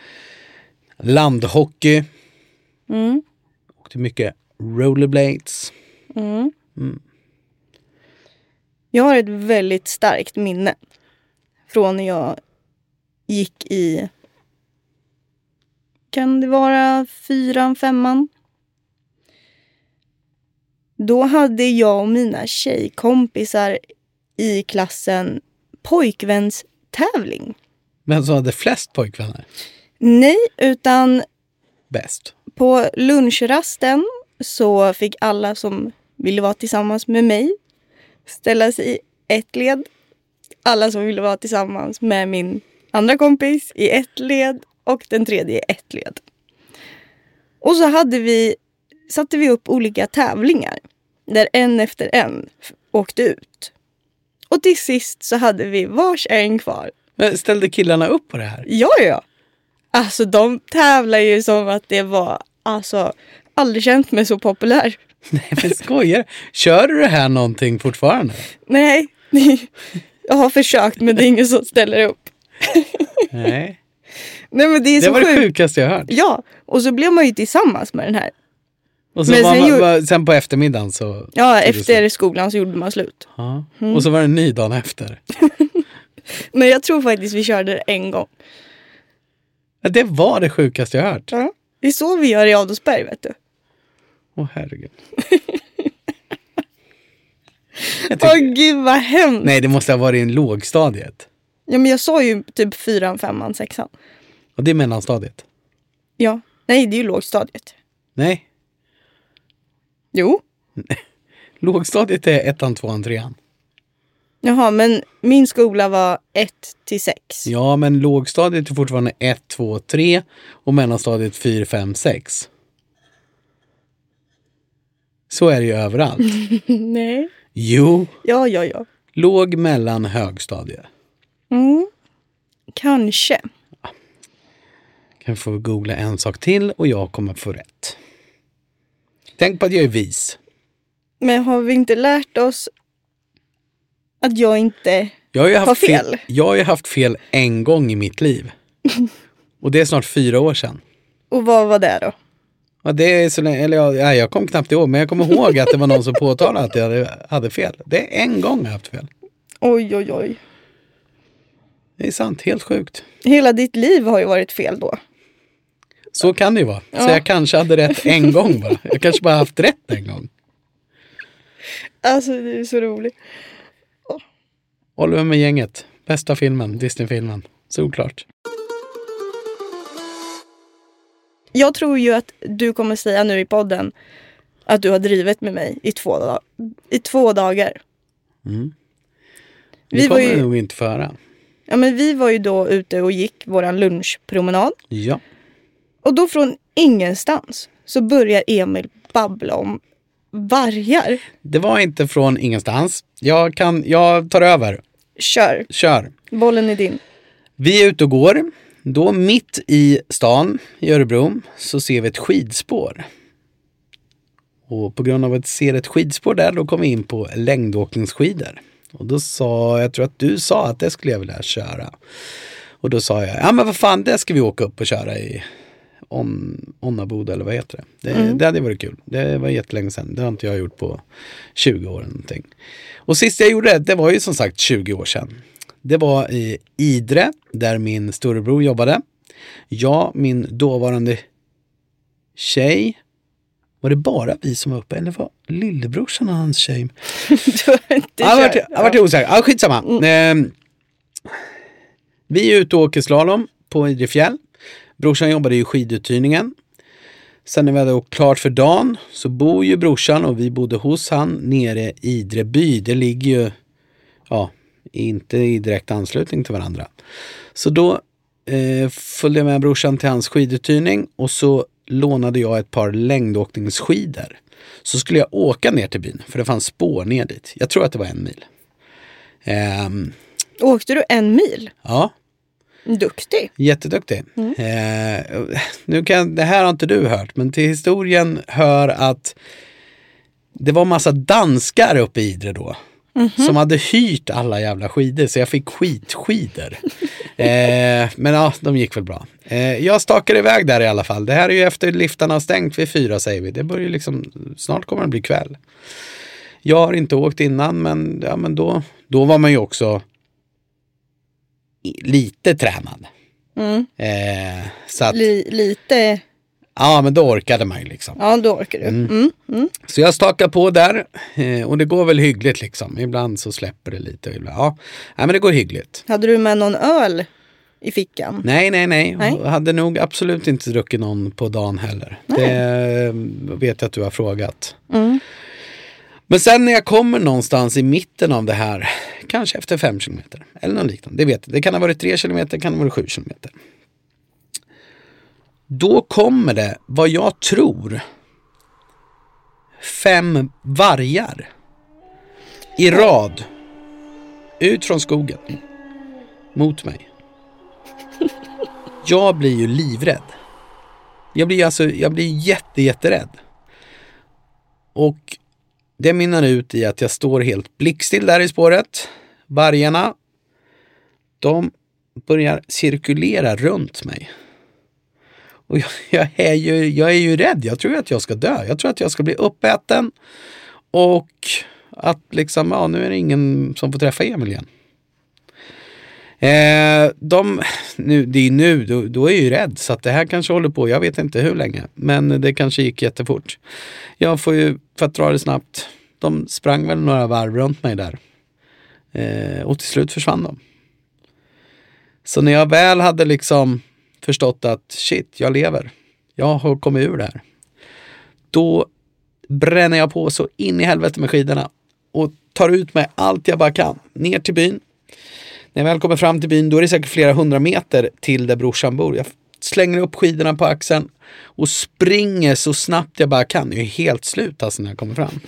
B: landhockey.
A: Mm.
B: Åkte mycket rollerblades.
A: Mm. Jag har ett väldigt starkt minne från när jag gick i, kan det vara fyran, femman? Då hade jag och mina tjejkompisar i klassen pojkvänstävling.
B: Vem som hade flest pojkvänner?
A: Nej, utan
B: Bäst.
A: På lunchrasten så fick alla som ville vara tillsammans med mig ställa sig i ett led. Alla som ville vara tillsammans med min andra kompis i ett led och den tredje i ett led. Och så hade vi, satte vi upp olika tävlingar där en efter en f- åkte ut. Och till sist så hade vi vars en kvar.
B: Men ställde killarna upp på det här?
A: Ja, ja. Alltså de tävlar ju som att det var, alltså, aldrig känt mig så populär.
B: Nej men skojar Kör du det här någonting fortfarande?
A: Nej, jag har försökt men det är ingen som ställer upp.
B: Nej.
A: Nej men det är
B: Det
A: så
B: var det
A: sjukt.
B: sjukaste jag hört.
A: Ja, och så blev man ju tillsammans med den här.
B: Och så
A: Men
B: var
A: sen
B: man,
A: gjorde-
B: var, sen på eftermiddagen så...
A: Ja,
B: tog det
A: efter Mm.
B: slut.
A: skolan så gjorde man slut.
B: Ja. Och så var det en ny dagen efter.
A: Men jag tror faktiskt vi körde det en gång.
B: Ja, Det var det sjukaste jag hört.
A: Ja. Det är så vi gör i Adolfsberg vet du.
B: Åh herregud.
A: Åh gud vad hemskt.
B: Nej, det måste ha varit en lågstadiet.
A: Ja men jag såg ju typ fyran, femman, sexan.
B: Och det är mellanstadiet.
A: Ja. Nej det är ju lågstadiet.
B: Nej,
A: Jo.
B: lågstadiet är ettan, tvåan, trean.
A: Jaha men min skola var 1 till 6.
B: Ja, men lågstadiet är fortfarande 1, 2, 3 och mellanstadiet 4, 5, 6. Så är det ju överallt.
A: Nej.
B: Jo,
A: Ja ja ja.
B: låg, mellan, högstadie.
A: Mm. Kanske.
B: Kan få googla en sak till och jag kommer få rätt. Tänk på att jag är vis.
A: Men har vi inte lärt oss att jag inte...
B: Jag har ju
A: Har
B: haft
A: fel.
B: fel. jag har ju haft fel en gång i mitt liv. Och det är snart fyra år sedan.
A: Och vad var det då?
B: Ja, det är så länge, eller jag, nej, jag kom knappt ihåg, men jag kommer ihåg att det var någon som påtalade att jag hade, hade fel. Det är en gång jag har haft fel.
A: Oj oj oj.
B: Det är sant, helt sjukt.
A: Hela ditt liv har ju varit fel då.
B: Så kan det ju vara. Så
A: Ja.
B: jag kanske hade rätt en gång bara. Jag kanske bara haft rätt en gång.
A: Alltså det är så roligt.
B: Oliver med gänget. Bästa filmen, Disney-filmen. Såklart.
A: Jag tror ju att du kommer säga nu i podden att du har drivit med mig i två, da- i två dagar.
B: Mm.
A: Vi
B: Det
A: var
B: kommer
A: ju-
B: nog inte föra.
A: Ja, men vi var ju då ute och gick våran lunchpromenad
B: Ja.
A: och då från ingenstans så börjar Emil babbla om vargar.
B: Det var inte från ingenstans. Jag, kan, jag tar över.
A: Kör,
B: Kör.
A: bollen är din.
B: Vi är ute och går. Då mitt i stan i Örebro så ser vi ett skidspår. Och på grund av att vi ser ett skidspår där då kom vi in på längdåkningsskidor. Och då sa, jag tror att du sa att det skulle jag vilja köra. Och då sa jag, ja men vad fan det ska vi åka upp och köra i On, Onnaboda eller vad heter det? Det, det hade varit kul. Det var jättelänge sedan. Det har inte jag gjort på 20 år eller någonting. Och sist jag gjorde det, det var ju som sagt 20 år sedan. Det var i Idre, där min storebror jobbade. Jag, min dåvarande tjej. Var det bara vi som var uppe eller var lillebrorsan och hans tjej?
A: Du har inte
B: Jag
A: kört.
B: vart, jag vart osäker. Ja, skitsamma. Ehm, vi är ute och åker slalom på Idre fjäll. Brorsan jobbade i skiduthyrningen. Sen när vi hade åkt klart för dagen så bor ju brorsan och vi bodde hos han nere i Idre by. Det ligger ju ja, inte i direkt anslutning till varandra. Så då eh, följde jag med brorsan till hans skiduthyrning och så lånade jag ett par längdåkningsskidor. Så skulle jag åka ner till byn, för det fanns spår ner dit. Jag tror att det var en mil. Ehm,
A: Åkte du en mil?
B: ja,
A: Duktig.
B: jätteduktig. Ehm, nu kan, det här har inte du hört, men till historien hör att det var massa danskar uppe i Idre då. Som hade hyrt alla jävla skidor, så jag fick skitskidor. eh, men ja, de gick väl bra. Eh, jag stakade iväg där i alla fall. Det här är ju efter liftarna har stängt vid fyra säger vi. Det börjar ju liksom, snart kommer det bli kväll. Jag har inte åkt innan, men, ja, men då, då var man ju också i- lite tränad.
A: Mm.
B: Eh, så att,
A: Li, lite,
B: ja men då orkade man ju liksom.
A: ja då orkar du. Mm. Mm.
B: Så jag stakar på där eh, och det går väl hyggligt liksom. Ibland så släpper det lite och ibland, ja. Nej men det går hyggligt.
A: Hade du med någon öl i fickan?
B: Nej, nej, nej.
A: Nej.
B: Jag hade nog absolut inte druckit någon på dagen heller. Det eh, vet jag att du har frågat.
A: Mm.
B: Men sen när jag kommer någonstans i mitten av det här, kanske efter fem kilometer eller något liknande, det vet jag. Det kan ha varit tre kilometer, det kan ha varit sju kilometer. Då kommer det, vad jag tror, fem vargar i rad ut från skogen mot mig. Jag blir ju livrädd. Jag blir alltså, jag blir jätte, jätterädd. Och det mynnar ut i att jag står helt blickstill där i spåret. Vargarna, de börjar cirkulera runt mig. Och jag, jag, är ju, jag är ju rädd. Jag tror att jag ska dö. Jag tror att jag ska bli uppäten. Och att liksom, ja nu är det ingen som får träffa Emil igen. Eh, de, nu, det är nu, då, då är jag ju rädd. Så att det här kanske håller på, jag vet inte hur länge. Men det kanske gick jättefort. Jag får ju, för att dra det snabbt, De sprang väl några varv runt mig där. Eh, och till slut försvann de. Så när jag väl hade liksom förstått att shit, jag lever. Jag har kommit ur det här. Då bränner jag på så in i helvete med skidorna och tar ut mig allt jag bara kan. Ner till byn. När jag väl kommer fram till byn då är det säkert flera hundra meter till där brorsan bor. Jag slänger upp skidorna på axeln och springer så snabbt jag bara kan. Jag är helt slut alltså när jag kommer fram.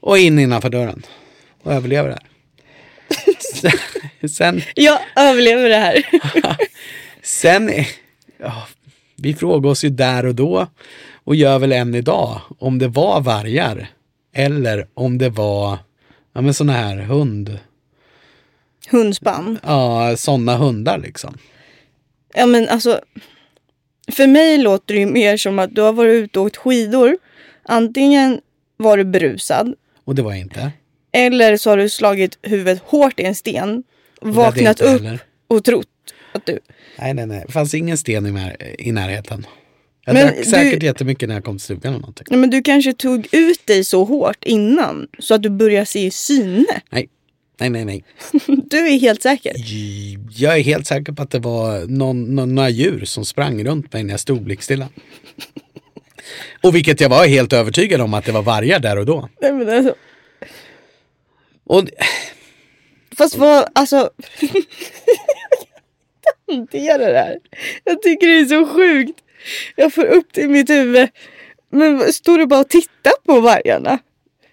B: Och in innanför dörren. Och överlever det här. Sen- Sen
A: Jag överlever det här.
B: Sen, ja, vi frågade oss ju där och då och gör väl än idag om det var vargar eller om det var ja, men såna här hund,
A: Hundspann.
B: ja sådana hundar liksom.
A: Ja men alltså. För mig låter det ju mer som att du har varit ute och åkt skidor. Antingen var du brusad.
B: Och det var jag inte.
A: Eller så har du slagit huvudet hårt i en sten.
B: det hade jag
A: Vaknat
B: inte
A: upp
B: heller.
A: och trott att du.
B: Nej, nej, nej. Det fanns ingen sten i, när, i närheten. Jag
A: Men
B: drack säkert
A: du-
B: jättemycket när jag kom till stugan eller någonting.
A: Nej, men du kanske tog ut dig så hårt innan. Så att du börjar se i syne.
B: Nej, nej, nej, nej.
A: Du är helt säker.
B: Jag är helt säker på att det var någon, någon, några djur som sprang runt mig när jag stod blickstilla. Och vilket jag var helt övertygad om att det var vargar där och då.
A: Nej, men alltså.
B: Och
A: Fast vad, alltså. jag kan inte hantera det här. Jag tycker det är så sjukt. Jag får upp det i mitt huvud. Men vad- står du bara och tittar på vargarna?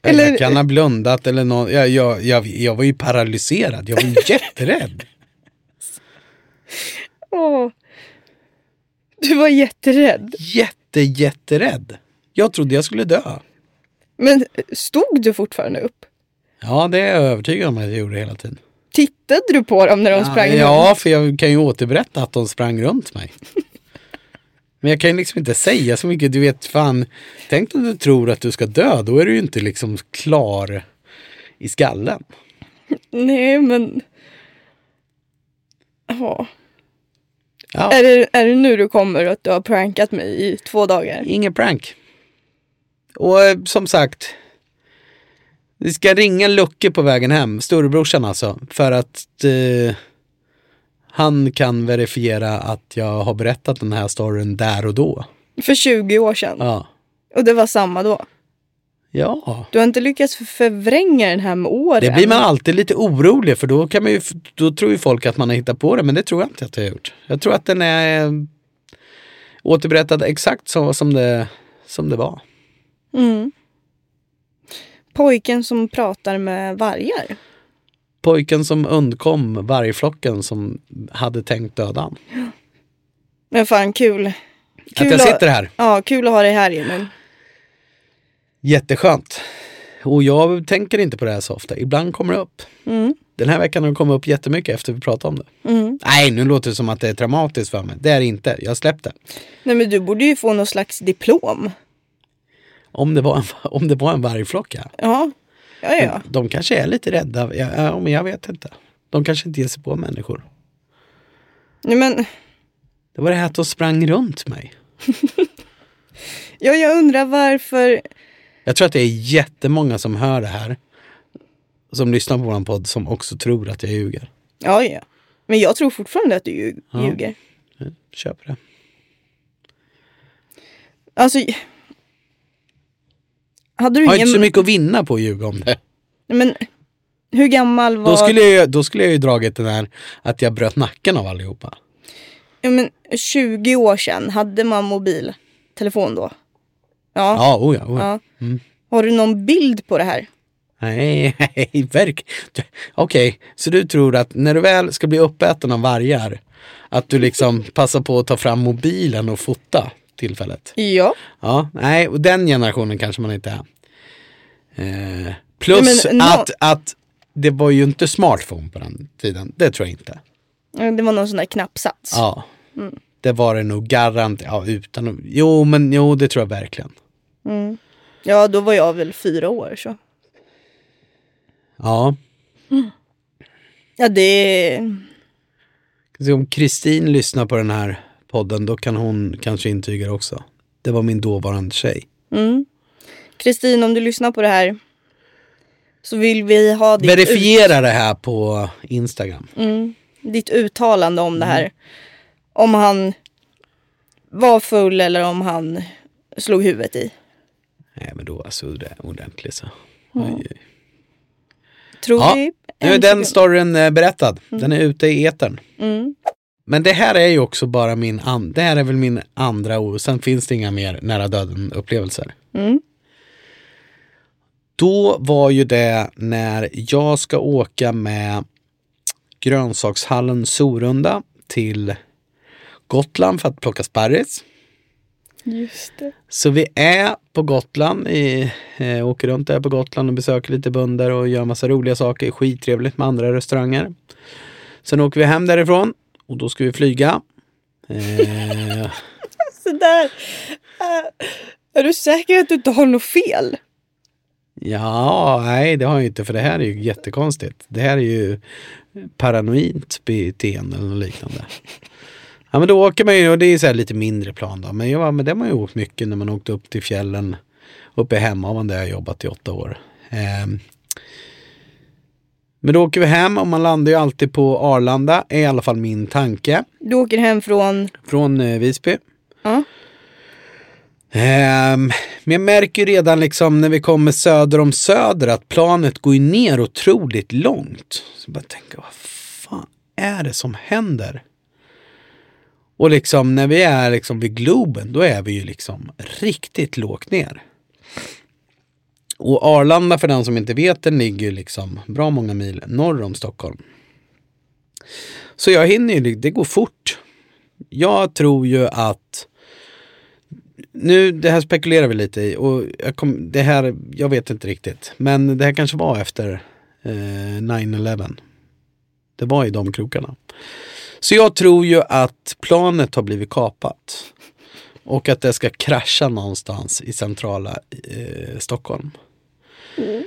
B: jag kan ha blundat eller någon, jag, jag, jag, jag var ju paralyserad, jag var ju jätterädd.
A: Åh. Du var jätterädd.
B: Jätte, jätterädd. Jag trodde jag skulle dö.
A: Men stod du fortfarande upp?
B: Ja, det är jag övertygad om att jag gjorde hela tiden.
A: Tittade du på dem när de sprang?
B: Ah, Ja, för jag kan ju återberätta att de sprang runt mig. Men jag kan ju liksom inte säga så mycket. Du vet, fan, tänk om du tror att du ska dö, då är du ju inte liksom klar i skallen.
A: Nej, men... Ja.
B: Ja,
A: Är, det, är det nu du kommer att du har prankat mig i två dagar?
B: ingen prank. Och eh, som sagt, vi ska ringa Lucke på vägen hem, storebrorsan alltså, för att eh, han kan verifiera att jag har berättat den här storyn där och då.
A: För 20 år sedan.
B: Ja.
A: Och det var samma då.
B: Ja.
A: Du har inte lyckats förvränga den här med åren.
B: Det blir man alltid lite orolig för då, kan man ju, då tror ju folk att man har hittat på det men det tror jag inte att jag har gjort. Jag tror att den är eh, återberättad exakt så, som, det, som det var.
A: Mm. Pojken som pratar med vargar.
B: Pojken som undkom vargflocken som hade tänkt döda han.
A: Men fan kul.
B: Att
A: kul
B: jag sitter här,
A: Ja, kul att ha dig här Emil.
B: jätteskönt. Och jag tänker inte på det här så ofta, ibland kommer det upp.
A: Mm.
B: Den här veckan har det kommit upp jättemycket efter vi pratade om det.
A: Mm.
B: Nej, nu låter det som att det är traumatiskt för mig. Det är det inte, jag släppte.
A: Nej men du borde ju få någon slags diplom.
B: Om det var en, om det var en vargflock ja.
A: Ja, ja ja.
B: Men De kanske är lite rädda. Ja, ja, men jag vet inte. De kanske inte ger sig på människor.
A: Nej, men
B: Det var det här att de sprang runt mig.
A: ja, jag undrar varför.
B: Jag tror att det är jättemånga som hör det här. Som lyssnar på vår podd som också tror att jag ljuger.
A: Ja ja. Men jag tror fortfarande att du ljug-
B: Ja.
A: ljuger.
B: Jag köper det.
A: Alltså. Hade du
B: Jag har
A: ingen...
B: inte så mycket att vinna på att ljuga om det.
A: Nej, men hur gammal var...
B: Då skulle jag, ju- då skulle jag ju dragit den här att jag bröt nacken av allihopa.
A: Ja, men 20 år sedan, hade man mobiltelefon då? Ja.
B: Ja, oja, oja.
A: Ja. Har du någon bild på det här?
B: Nej, nej, verk. du- Okej, så du tror att när du väl ska bli uppäten av vargar, att du liksom passar på att ta fram mobilen och fota tillfället?
A: Ja.
B: Ja, nej, och den generationen kanske man inte är. Eh, plus
A: Nej, men nå-
B: att, att det var ju inte smartphone på den tiden, det tror jag inte.
A: Mm, Det var någon sån där knappsats.
B: Ja, det var det nog garant, ja utan att- jo men jo det tror jag verkligen.
A: Ja, då var jag väl fyra år så.
B: Ja,
A: Ja, det...
B: Ska se Om Kristin lyssnar på den här podden, då kan hon kanske intyga det också. Det var min dåvarande tjej.
A: Kristin, om du lyssnar på det här. Så vill vi ha ditt, ut, Mm.
B: Verifiera det här på Instagram.
A: ditt uttalande om det
B: Mm.
A: här. Om han var full eller om han slog huvudet i.
B: Nej men då alltså det är ordentligt så. Oj, oj.
A: Tror
B: Ja,
A: vi? En
B: Nu är
A: Mm.
B: den
A: sekund.
B: storyn eh, berättad. Den är ute i etern.
A: Mm.
B: Men det här är ju också bara min, an- det här är väl min andra och sen finns det inga mer nära döden upplevelser.
A: Mm.
B: Då var ju det när jag ska åka med grönsakshallen Sorunda till Gotland för att plocka sparris.
A: Just det.
B: Så vi är på Gotland, i, eh, åker runt där på Gotland och besöker lite bönder och gör massa roliga saker. Skittrevligt med andra restauranger. Sen åker vi hem därifrån och då ska vi flyga. Eh,
A: Så där. Äh, är du säker att du inte har något fel?
B: ja, nej det har jag inte för det här är ju jättekonstigt. Det här är ju paranoid beteende eller liknande. Ja men då åker man ju, och det är ju så här lite mindre plan då. Men, ja, men det har man ju åkt mycket när man åkte upp till fjällen. Uppe i Hemavan där jag har jobbat i åtta år. Ehm. Men då åker vi hem och man landar ju alltid på Arlanda, är i alla fall min tanke.
A: Du åker hem från...
B: Från eh, Visby.
A: Ja.
B: Ehm, men jag märker ju redan liksom när vi kommer söder om söder att planet går ju ner otroligt långt. Så jag bara tänker, vad fan är det som händer? Och liksom när vi är liksom vid Globen, då är vi ju liksom riktigt lågt ner. Och Arlanda, för den som inte vet, den ligger ju liksom bra många mil norr om Stockholm. Så jag hinner ju, det går fort. Jag tror ju att nu, det här spekulerar vi lite i och jag, kom, det här, jag vet inte riktigt. Men det här kanske var efter eh, 9-11. Det var i de krokarna. Så jag tror ju att planet har blivit kapat. Och att det ska krascha någonstans i centrala eh, Stockholm.
A: Mm.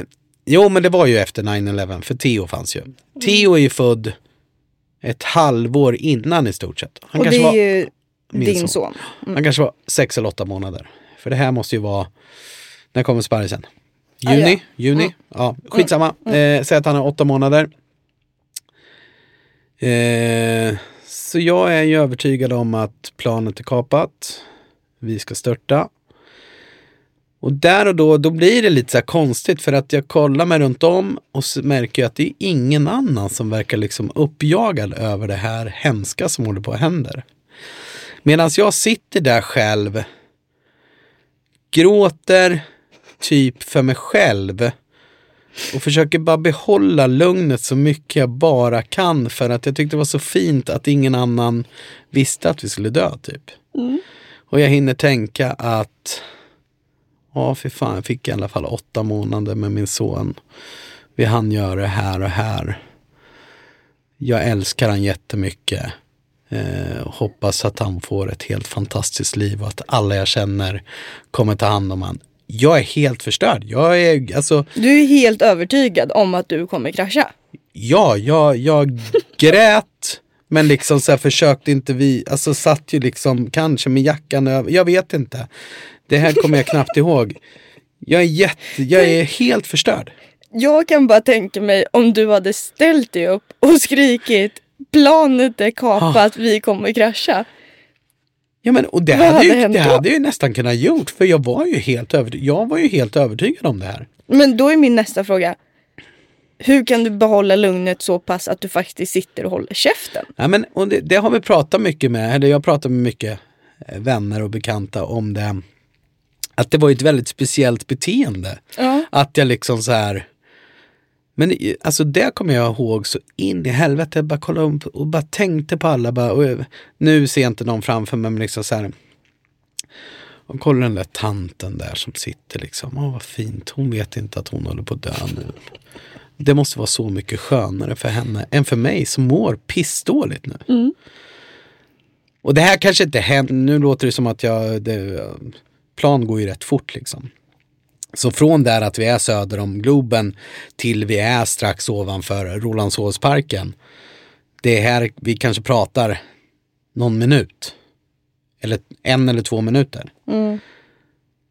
B: Eh, jo, men det var ju efter 9-11, för Theo fanns ju. Theo är ju född ett halvår innan i stort sett. Han
A: och det
B: kanske
A: är
B: var-
A: ju
B: min
A: din
B: son.
A: son.
B: han kanske var sex eller åtta månader. För det här måste ju vara, när kommer sparrisen? Juni?
A: Ah, ja. Mm.
B: Juni? Ja, skitsamma. Eh, säg att han är åtta månader. Eh, så jag är ju övertygad om att planet är kapat. Vi ska störta. Och där och då, då blir det lite så här konstigt för att jag kollar mig runt om och så märker jag att det är ingen annan som verkar liksom uppjagad över det här hemska som håller på att händer. Medan jag sitter där själv, gråter typ för mig själv och försöker bara behålla lugnet så mycket jag bara kan för att jag tyckte det var så fint att ingen annan visste att vi skulle dö typ. Och jag hinner tänka att Ja, för fan, jag fick i alla fall åtta månader med min son. Vi hann göra det här och här. Jag älskar han jättemycket. Eh, hoppas att han får ett helt fantastiskt liv och att alla jag känner kommer ta hand om han. Jag är helt förstörd. Jag är, alltså,
A: Du är helt övertygad om att du kommer krascha.
B: ja, jag, jag grät. Men liksom så här försökte inte vi, alltså satt ju liksom kanske med jackan över, jag vet inte. Det här kommer jag knappt ihåg. Jag är jätte, jag är helt förstörd.
A: Jag kan bara tänka mig om du hade ställt dig upp och skrikit planet är
B: Ah.
A: kapat, vi kommer krascha.
B: Ja men och det
A: Vad
B: hade,
A: hade
B: ju,
A: hänt
B: det
A: då?
B: hade jag ju nästan kunnat gjort för jag var ju helt, över, jag var ju helt övertygad om det här.
A: Men då är min nästa fråga. Hur kan du behålla lugnet så pass att du faktiskt sitter och håller käften?
B: Ja, men, och det, det har vi pratat mycket med, eller jag pratar med mycket eh, vänner och bekanta om det. Att det var ju ett väldigt speciellt beteende.
A: Ja.
B: Att jag liksom så här men i- alltså det kommer jag ihåg så in i helvete. Jag bara kollade upp och bara tänkte på alla. Bara, och, jag- nu ser jag inte någon framför mig, men liksom så här. Och kolla den där tanten där som sitter liksom. Åh, vad fint. Hon vet inte att hon håller på att dö nu. Det måste vara så mycket skönare för henne än för mig som mår pissdåligt nu. Och det här kanske inte händer. Nu låter det som att jag... Det, plan går ju rätt fort liksom. Så från där att vi är söder om Globen till vi är strax ovanför Rolandshovsparken. Det är här vi kanske pratar någon minut. Eller en eller två minuter.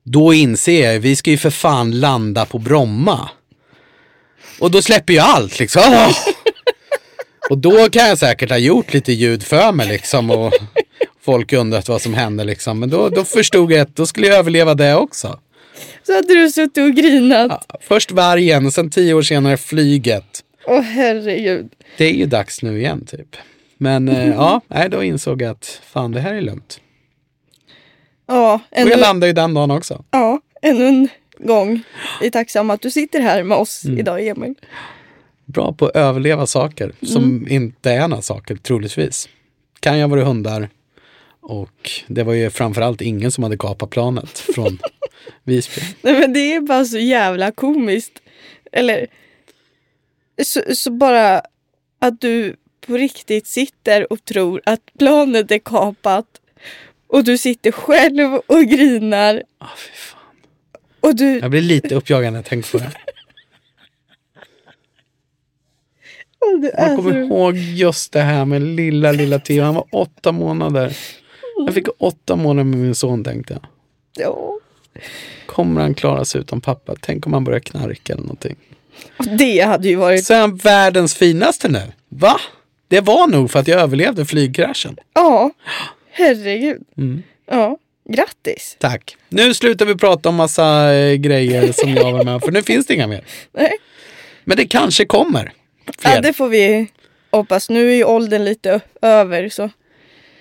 B: Då inser jag, vi ska ju för fan landa på Bromma. Och då släpper ju allt liksom. Åh! Och då kan jag säkert ha gjort lite ljud för mig liksom. Och folk undrat vad som hände liksom. Men då, då förstod jag att då skulle jag överleva det också.
A: Så hade du suttit och grinat.
B: Ja, Först vargen och sen tio år senare flyget.
A: Åh herregud.
B: Det är ju dags nu igen typ. Men eh, ja, nej, då insåg jag att fan det här är lugnt.
A: Ja,
B: Och
A: ännu,
B: jag landade ju den dagen också.
A: ja, ännu en gång. Vi är tacksamma att du sitter här med oss idag Emil.
B: Bra på att överleva saker som inte är några saker troligtvis. Kan jag vara hundar och det var ju framförallt ingen som hade kapat planet från Visby.
A: Nej men det är bara så jävla komiskt. Eller så, så bara att du på riktigt sitter och tror att planet är kapat och du sitter själv och grinar
B: Ah, fy fan.
A: och du...
B: Jag blir lite uppjagad när jag tänker på det.
A: och du
B: Jag
A: är
B: kommer
A: så-
B: ihåg just det här med lilla, lilla Theo. Han var åtta månader. Jag fick åtta månader med min son tänkte jag.
A: Ja.
B: Kommer han klara sig utan pappa? Tänk om han börjar knarka eller någonting.
A: Och Det hade ju varit...
B: Så är han världens finaste nu. Va? Det var nog för att jag överlevde flygkraschen.
A: Ja, herregud.
B: Mm.
A: Ja, grattis.
B: Tack. Nu slutar vi prata om massa eh, grejer som jag var med om, för nu finns det inga mer.
A: Nej.
B: Men det kanske kommer. Fler.
A: Ja, det får vi hoppas. Nu är ju åldern lite ö- över så.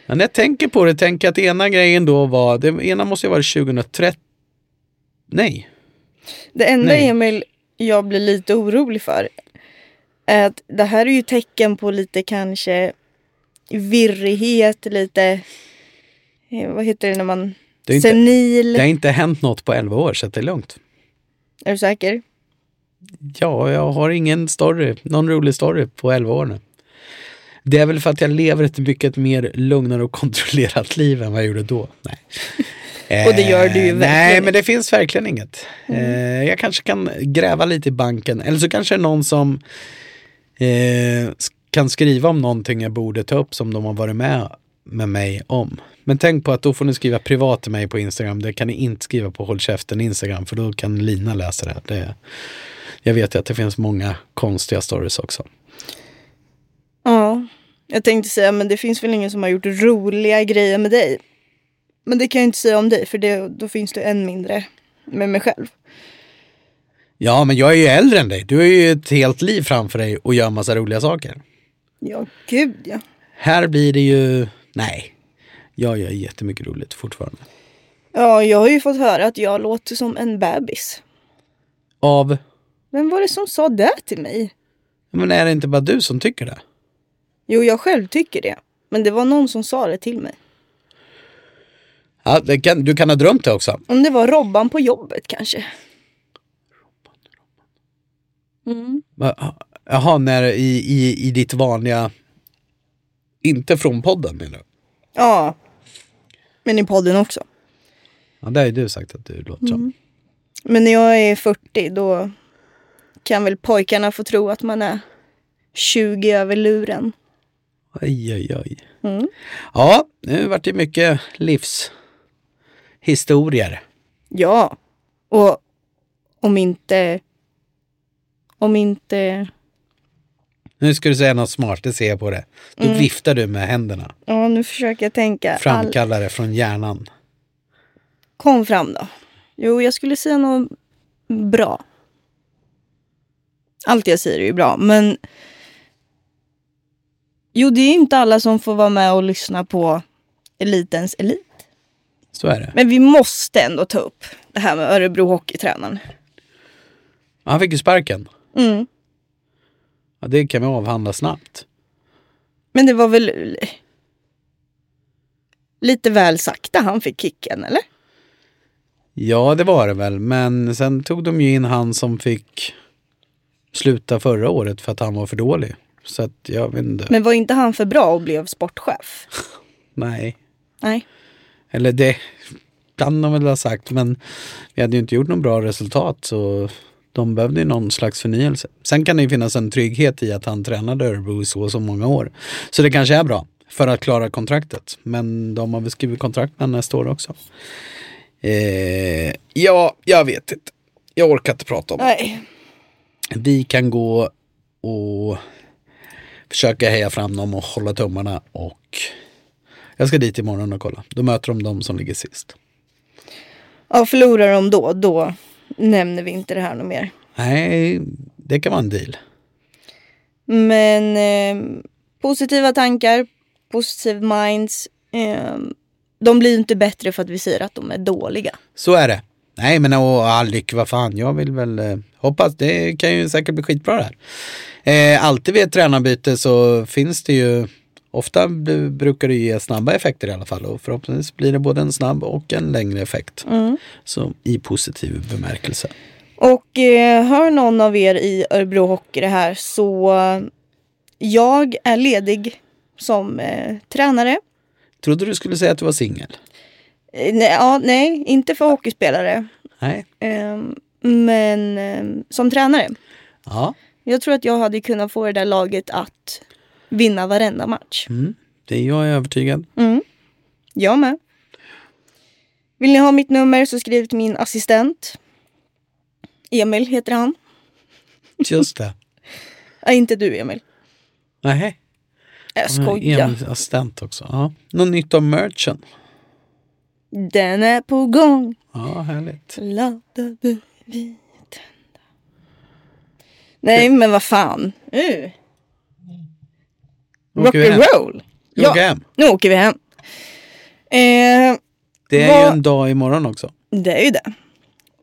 B: Men när jag tänker på det, tänker jag att ena grejen då var, det ena måste ju vara 2013. Nej,
A: Det enda
B: Nej.
A: Emil jag blir lite orolig för är att det här är ju tecken på lite kanske virrighet, lite eh, vad heter det när man
B: Det är inte-
A: senil.
B: det har inte hänt något på 11 år så att det är lugnt.
A: Är du säker?
B: Ja, jag har ingen story, någon rolig story på 11 år nu. Det är väl för att jag lever ett mycket mer lugnare och kontrollerat liv än vad jag gjorde då. Nej.
A: Och det gör du ju
B: Eh, Nej,
A: verkligen Mm.
B: men det finns verkligen inget. Eh, jag kanske kan gräva lite i banken, eller så kanske det är någon som eh, s- kan skriva om någonting jag borde ta upp som de har varit med med mig om. Men tänk på att då får ni skriva privat till mig på Instagram. Det kan ni inte skriva på Håll käften Instagram för då kan Lina läsa det. här. det jag vet ju att det finns många konstiga stories också.
A: Ja. Jag tänkte säga men det finns väl ingen som har gjort roliga grejer med dig. Men det kan jag inte säga om dig för det, då finns det än mindre med mig själv.
B: Ja, men jag är ju äldre än dig. Du har ju ett helt liv framför dig och gör massa roliga saker.
A: Ja, gud ja.
B: Här blir det ju... Nej. Jag gör jättemycket roligt fortfarande.
A: Ja, jag har ju fått höra att jag låter som en bebis.
B: Av...
A: Vem var det som sa det till mig?
B: Men är det inte bara du som tycker det?
A: Jo, jag själv tycker det. Men det var någon som sa det till mig.
B: Ja, det kan, du kan ha drömt det också.
A: Om det var Robban på jobbet kanske. Mm.
B: Va- Jaha, när i, i, i ditt vanliga... Inte från podden menar du?
A: Ja. Men i podden också.
B: Ja, det har ju du sagt att du låter som.
A: Men när jag är 40 då kan väl pojkarna få tro att man är 20 över luren.
B: Oj, oj, oj.
A: Mm.
B: Ja, nu vart det mycket livshistorier.
A: Ja. Och om inte... Om inte...
B: Nu ska du säga något smart, det ser jag på det. Då viftar du med händerna.
A: Mm. Ja, nu försöker jag tänka. All...
B: Framkallar det från hjärnan.
A: Kom fram då. Jo, jag skulle säga något bra. Allt jag säger är ju bra, men... Jo, det är inte alla som får vara med och lyssna på elitens elit.
B: Så är det.
A: Men vi måste ändå ta upp det här med Örebro hockeytränaren.
B: Han fick ju sparken.
A: Mm.
B: Ja, det kan vi avhandla snabbt.
A: Men det var väl lite väl sakta han fick kicken, eller?
B: Ja, det var det väl. Men sen tog de ju in han som fick sluta förra året för att han var för dålig. Så att jag vet inte.
A: Men var inte han för bra och blev sportchef?
B: Nej.
A: Nej.
B: Eller det kan de väl ha sagt, men vi hade ju inte gjort något bra resultat så de behövde ju någon slags förnyelse. Sen kan det ju finnas en trygghet i att han tränade Örebro i så och så många år. Så det kanske är bra för att klara kontraktet. Men de har väl skrivit kontrakt med honom nästa år också. Eh, ja, jag vet inte. Jag orkar inte prata om det.
A: Nej.
B: Vi kan gå och försöka heja fram dem och hålla tummarna och jag ska dit imorgon och kolla. Då möter de de som ligger sist.
A: Ja, förlorar de då, då nämner vi inte det här något mer.
B: Nej, det kan vara en deal.
A: Men eh, positiva tankar, positive minds. Eh, de blir ju inte bättre för att vi säger att de är dåliga.
B: Så är det. Nej men och Alrik, vad fan, jag vill väl eh, hoppas, det kan ju säkert bli skitbra det här. Eh, alltid vid ett tränarbyte så finns det ju, ofta bru- brukar det ge snabba effekter i alla fall och förhoppningsvis blir det både en snabb och en längre effekt. Så i positiv bemärkelse.
A: Och eh, hör någon av er i Örebro Hockey det här så eh, jag är ledig som eh, tränare.
B: Trodde du skulle säga att du var singel?
A: Eh, nej, ja, nej, inte för hockeyspelare.
B: Nej.
A: Eh, men eh, som tränare.
B: Ja,
A: Jag tror att jag hade kunnat få det där laget att vinna varenda match.
B: mm. det är jag övertygad.
A: Mm. Jag med. Vill ni ha mitt nummer så skriv till min assistent. Emil heter han.
B: Just det.
A: Nej, inte du Emil.
B: Nej.
A: Jag
B: Ja,
A: skojar.
B: Emils assistent också. Ja. Något nytt om merchen?
A: Den är på gång.
B: Ja, härligt.
A: Laddade vi tända. Nej, men vad fan. Uh.
B: Nu
A: Rock
B: åker vi hem.
A: and roll.
B: Nu åker vi hem.
A: nu åker vi hem. Eh,
B: Det är ju
A: Vad-
B: en dag imorgon också.
A: Det är ju det.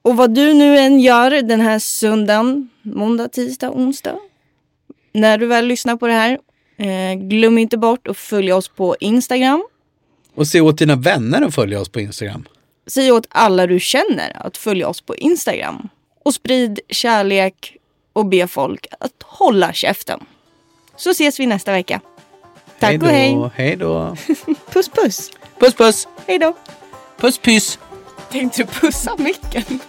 A: Och vad du nu än gör den här söndagen, måndag, tisdag, onsdag. När du väl lyssnar på det här, eh, glöm inte bort att följa oss på Instagram.
B: Och se åt dina vänner att följa oss på Instagram.
A: Säg åt alla du känner att följa oss på Instagram. Och sprid kärlek och be folk att hålla käften. Så ses vi nästa vecka. Tack och hej.
B: då, Hej då.
A: Puss puss.
B: Puss puss.
A: Hej då.
B: Puss pyss.
A: Tänkte du pussa micken?